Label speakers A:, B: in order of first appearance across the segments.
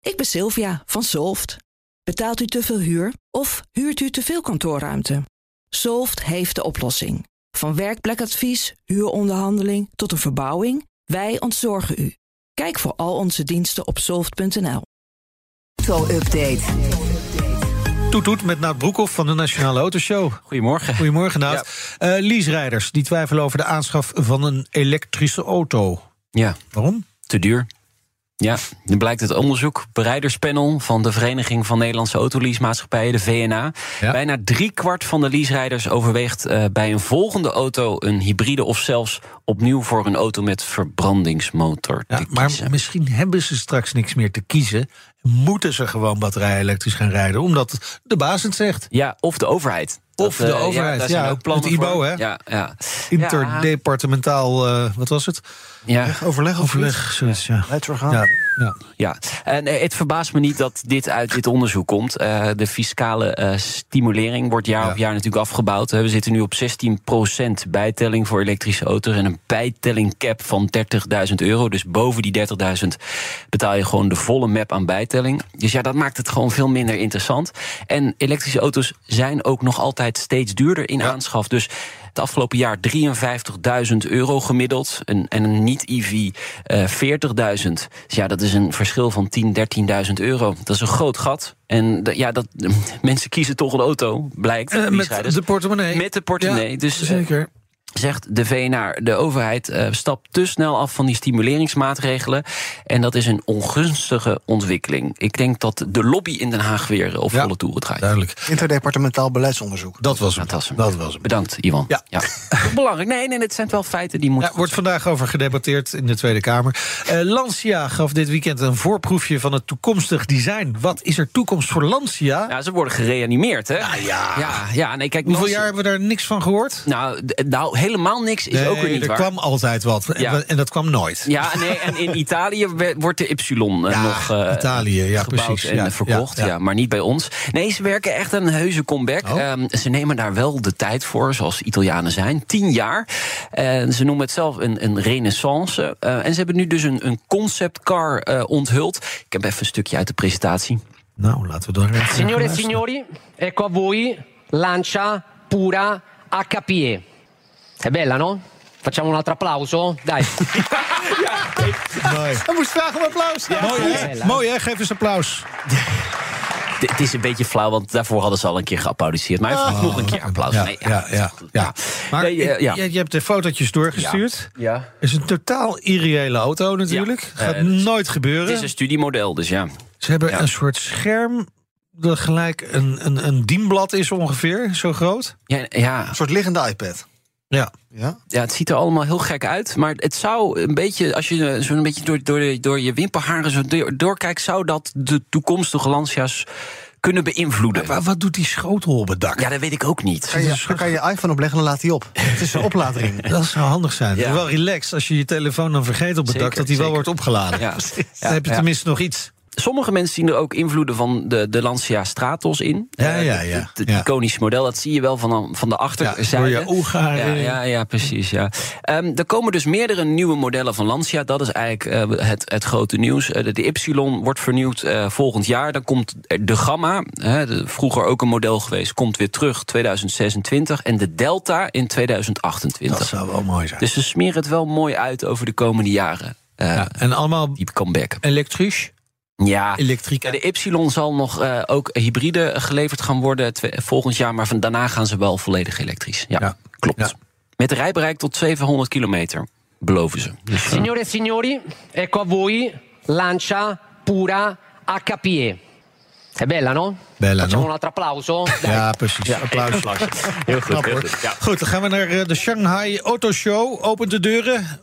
A: Ik ben Sylvia van Solft. Betaalt u te veel huur of huurt u te veel kantoorruimte? Solft heeft de oplossing. Van werkplekadvies, huuronderhandeling tot een verbouwing, wij ontzorgen u. Kijk voor al onze diensten op soft.nl.
B: Auto-update.
C: Toet toet met Nout Broekhoff van de Nationale Autoshow.
D: Goedemorgen.
C: Goedemorgen, Nout. Eh, leaserijders die twijfelen over de aanschaf van een elektrische auto.
D: Ja,
C: Waarom?
D: te duur. Ja, dan blijkt het onderzoek bereiderspanel van de Vereniging van Nederlandse Autoleasemaatschappijen, de VNA.
C: Ja.
D: Bijna driekwart van de leaserijders overweegt eh, bij een volgende auto een hybride of zelfs opnieuw voor een auto met verbrandingsmotor
C: Ja,
D: te
C: maar
D: kiezen.
C: misschien hebben ze straks niks meer te kiezen. Moeten ze gewoon batterij-elektrisch gaan rijden, omdat de baas het zegt.
D: Ja, of de overheid.
C: Of de
D: eh,
C: overheid,
D: daar zijn
C: ja,
D: ook plannen
C: het IBO,
D: voor.
C: hè?
D: Ja, ja.
C: Interdepartementaal, eh, wat was het?
D: ja, ja.
C: Overleg, overleg, zoiets, ja.
E: Leidsorgaan.
C: Ja, ja.
D: Ja, en eh, het verbaast me niet dat dit uit dit onderzoek komt. Eh, de fiscale eh, stimulering wordt jaar
C: Ja.
D: op jaar natuurlijk afgebouwd. Eh, We zitten nu op 16% bijtelling voor elektrische auto's en een bijtelling cap van 30.000 euro. Dus boven die 30.000 betaal je gewoon de volle map aan bijtelling. Dus ja, dat maakt het gewoon veel minder interessant. En elektrische auto's zijn ook nog altijd steeds duurder in aanschaf. Dus het afgelopen jaar 53.000 euro gemiddeld. Een, en een niet-EV eh 40.000. Dus ja, dat is een verschil van 10.000, 13.000 euro. Dat is een groot gat. En dat- ja, dat, mensen kiezen toch een auto, blijkt.
C: Eh, met
D: leaserijders.
C: de portemonnee.
D: Met de portemonnee.
C: Ja,
D: dus eh,
C: zeker.
D: zegt de VNR, de overheid eh, stapt te snel af van die stimuleringsmaatregelen. En dat is een ongunstige ontwikkeling. Ik denk dat de lobby in Den Haag weer eh, op
C: Ja.
D: volle toeren draait.
C: Duidelijk.
E: Interdepartementaal beleidsonderzoek.
C: Dat was hem.
D: Dat was hem.
C: Dat was hem.
D: Bedankt, Iwan.
C: Ja.
D: Belangrijk. Nee, nee, het zijn wel feiten die moeten.
C: Ja, wordt vandaag over gedebatteerd in de Tweede Kamer. Eh, Lancia gaf dit weekend een voorproefje van het toekomstig design. Wat is er toekomst voor Lancia? Ah,
D: Ja, ze worden gereanimeerd, hè? Ja, ja. Ja, nee, kijk,
C: Hoeveel
D: Nancy-
C: jaar hebben we daar niks van gehoord?
D: Nou, d- nou, helemaal niks is
C: Nee,
D: ook weer niet
C: er
D: waar.
C: kwam altijd wat. En
D: Ja.
C: we- En dat kwam nooit.
D: Ja, nee, en in Italië we- wordt de Y eh,
C: Ja,
D: nog eh,
C: Italië, ja,
D: gebouwd
C: precies.
D: en
C: Ja,
D: verkocht.
C: ja,
D: Ja,
C: ja.
D: maar niet bij ons. Nee, ze werken echt aan een heuse comeback.
C: Oh.
D: Ehm, ze nemen daar wel de tijd voor, zoals Italianen zijn. Tien jaar. En ze noemen het zelf een, een renaissance. Eh, en ze hebben nu dus een, een conceptcar eh, onthuld. Ik heb even een stukje uit de presentatie.
C: Nou, laten we daar even
F: Signore
C: naar
F: e
C: luisteren.
F: signori, ecco a voi Lancia Pura HPE. È bella, no? Facciamo un altro applauso? Dai.
C: Mooi.
E: Hij moest vragen om applaus.
C: Mooi, hè?
F: Hela.
C: Mooi hè? Geef eens applaus.
D: D- Het is een beetje flauw, want daarvoor hadden ze al een keer geapplaudisseerd. Maar even nog een keer applaus.
C: Oh. Ja,
D: Nee,
C: ja, ja. ja. Maar
D: Nee, eh,
C: ik-
D: ja.
C: Je, je hebt de fotootjes doorgestuurd.
D: Ja. Ja.
C: is een totaal irreële auto natuurlijk.
D: Ja.
C: Gaat
D: Eh, het is-
C: nooit
D: Het
C: gebeuren.
D: is een studiemodel, dus ja.
C: Ze hebben
D: Ja.
C: een soort scherm dat gelijk een, een, een dienblad is ongeveer, zo groot.
D: Ja, ja,
E: Een soort liggende iPad.
C: Ja,
E: Ja?
D: ja, het ziet er allemaal heel gek uit. Maar het zou een beetje, als je eh, zo'n beetje door, door, de- door je wimperharen zo door- doorkijkt, zou dat de toekomstige Lancia's kunnen beïnvloeden.
C: maar wat doet die schotel op het dak?
D: Ja, dat weet ik ook niet.
E: Kan je, daar kan je je iPhone opleggen en dan laat hij op. Het is een opladering.
C: Dat zou handig zijn.
D: Ja.
C: Wel relaxed als je je telefoon dan vergeet op het
D: Zeker,
C: dak, dat die wel
D: zeker.
C: wordt opgeladen.
D: Ja.
C: Dan heb je
D: Ja.
C: tenminste nog iets.
D: Sommige mensen zien er ook invloeden van de, de Lancia Stratos in.
C: Ja,
D: Eh,
C: ja, ja.
D: Het
C: Ja.
D: iconische model, dat zie je wel van, van de
C: Ja,
D: achterzijde.
C: door je oogharen.
D: Ja, ja, ja, precies. Ja. Ehm, er komen dus meerdere nieuwe modellen van Lancia. Dat is eigenlijk eh, het, het grote nieuws. Eh, de, de Y wordt vernieuwd eh, volgend jaar. Dan komt de Gamma, hè, de- vroeger ook een model geweest, komt weer terug 2026. En de Delta in 2028.
C: Dat zou wel mooi zijn.
D: Dus ze smeren het wel mooi uit over de komende jaren. Eh,
C: ja. En allemaal
D: Die comeback.
C: elektrisch,
D: Ja.
C: elektrica.
D: Ja, Eh, de Y zal nog eh, ook hybride geleverd gaan worden twe- volgend jaar, maar van daarna gaan ze wel volledig elektrisch. Ja,
C: Ja.
D: klopt.
C: Ja.
D: Met een rijbereik tot 700 kilometer, beloven ze. Dus, eh,
F: Signore e signori, ecco a voi Lancia Pura HPE. È bella, no?
C: Bella,
F: Facciamo
C: no?
F: un altro applauso? Dai.
C: Ja, precies. Applaus.
D: heel goed.
C: Knap,
D: heel
C: hoor.
D: goed. Ja.
C: Goed, dan gaan we naar eh, de Shanghai Auto Show. Opent de deuren.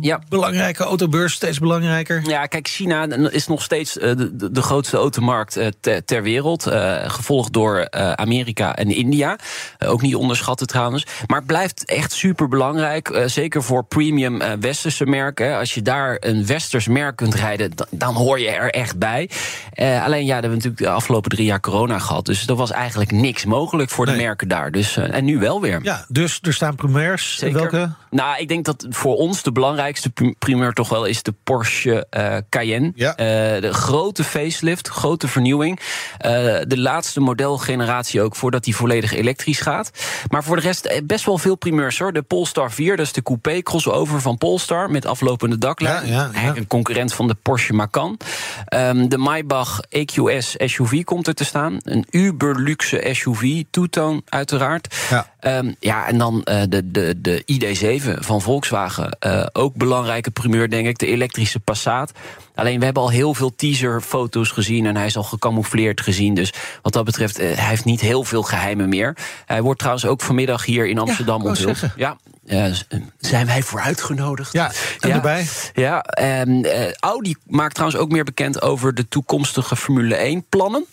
D: Ja.
C: Belangrijke autobeurs, steeds belangrijker.
D: Ja, kijk, China is nog steeds eh, de, de- de grootste automarkt eh, ter, ter wereld. eh, gevolgd door eh, Amerika en India. Eh, ook niet onderschatten trouwens. Maar het blijft echt super belangrijk. zeker voor premium eh, westerse merken. hè. Als je daar een westers merk kunt rijden, dan, dan hoor je er echt bij. Eh, alleen ja, we hebben natuurlijk de afgelopen drie jaar corona gehad. Dus er was eigenlijk niks mogelijk voor de
C: Nee.
D: merken daar. Dus, eh, en nu wel weer.
C: Ja, dus er staan premiers.
D: Zeker.
C: Welke?
D: Nou, ik denk dat voor ons de belangrijkste prim- primeur toch wel is de Porsche eh, Cayenne.
C: Ja.
D: Eh, de grote facelift, grote vernieuwing. Eh, de laatste modelgeneratie ook voordat die volledig elektrisch gaat. Maar voor de rest eh, best wel veel primeurs hoor. De Polestar 4, dat is de coupé crossover van Polestar met aflopende daklijn.
C: Ja, ja, ja.
D: Eigenlijk Een concurrent van de Porsche Macan. Ehm, de Maybach EQS SUV komt er te staan. Een uberluxe SUV, toetoon uiteraard.
C: Ja.
D: Ehm, ja, en dan eh, de, de, de ID7 van Volkswagen. Eh, ook belangrijke primeur, denk ik. De elektrische Passat. Alleen we hebben al heel veel teaserfoto's gezien. En hij is al gecamoufleerd gezien. Dus wat dat betreft, eh, hij heeft niet heel veel geheimen meer. Hij wordt trouwens ook vanmiddag hier in Amsterdam
C: ik wou
D: onthuld.
C: zeggen.
D: Ja, eh, z- zijn wij vooruitgenodigd?
C: Ja, en erbij.
D: Ja, en, eh, Audi maakt trouwens ook meer bekend over de toekomstige Formule 1-plannen.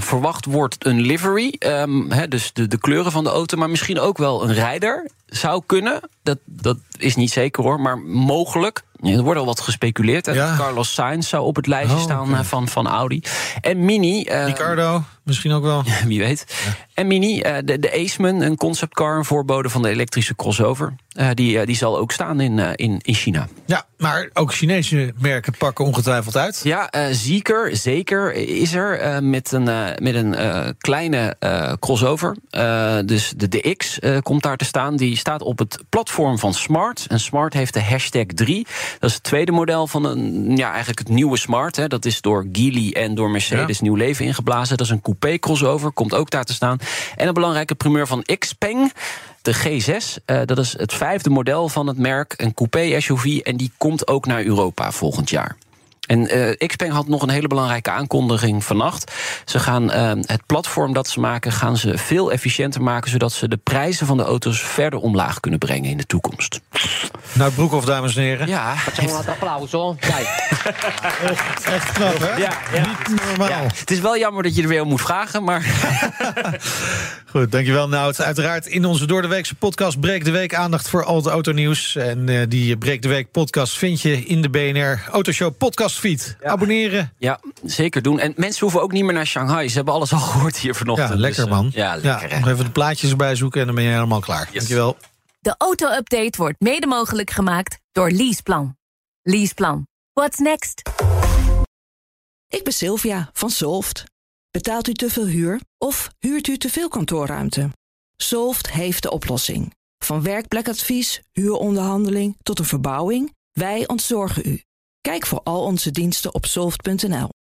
D: verwacht wordt een livery, ehm, hè, dus de, de kleuren van de auto, maar misschien ook wel een rijder. Zou kunnen, dat, dat is niet zeker hoor, maar mogelijk. Ja, Er wordt al wat gespeculeerd. hè.
C: Ja.
D: Carlos Sainz zou op het lijstje
C: Oh,
D: staan
C: oké.
D: eh, van, van Audi. En Mini. eh,
C: Ricardo, misschien ook wel.
D: wie weet. En Mini, eh, de, de Aceman, een conceptcar, een voorbode van de elektrische crossover. eh, die, eh, die zal ook staan in, eh, in, in China.
C: Ja, maar ook Chinese merken pakken ongetwijfeld uit.
D: Ja, eh Zeker, zeker is er eh, met een, eh, met een eh, kleine eh, crossover. Eh, dus de, de X eh, komt daar te staan. Die staat op het platform van Smart. En Smart heeft de hashtag 3. Dat is het tweede model van een, ja, eigenlijk het nieuwe Smart. Hè. Dat is door Geely en door Mercedes nieuw leven ingeblazen. Dat is een coupé crossover, komt ook daar te staan. En een belangrijke primeur van Xpeng. De G6, eh, dat is het vijfde model van het merk, een coupé SUV. En die komt ook naar Europa volgend jaar. En eh Xpeng had nog een hele belangrijke aankondiging vannacht. Ze gaan eh, het platform dat ze maken, gaan ze veel efficiënter maken, zodat ze de prijzen van de auto's verder omlaag kunnen brengen in de toekomst.
C: Nou, Broekhoff, dames en heren.
D: Ja,
F: Facciamo un altro applauso? Dai.
C: Echt knap, hè?
D: Ja, ja.
C: Niet normaal.
D: ja, het is wel jammer dat je er weer om moet vragen, maar
C: Goed, dankjewel Nout. Uiteraard in onze door de weekse podcast Breek de Week aandacht voor al het autonieuws. En eh, die Breek de Week podcast vind je in de BNR Autoshow podcast feed. Abonneren.
D: ja, zeker doen. En mensen hoeven ook niet meer naar Shanghai. Ze hebben alles al gehoord hier
C: Ja,
D: vanochtend.
C: lekker
D: Dus, eh,
C: man.
D: Ja, lekker. hè.
C: nog even de plaatjes erbij zoeken en dan ben je helemaal klaar. Dankjewel.
B: De auto-update wordt mede mogelijk gemaakt door Leaseplan. Leaseplan. What's next?
A: Ik ben Sylvia van Solft. Betaalt u te veel huur of huurt u te veel kantoorruimte? Solft heeft de oplossing. Van werkplekadvies, huuronderhandeling tot een verbouwing, wij ontzorgen u. Kijk voor al onze diensten op solft.nl.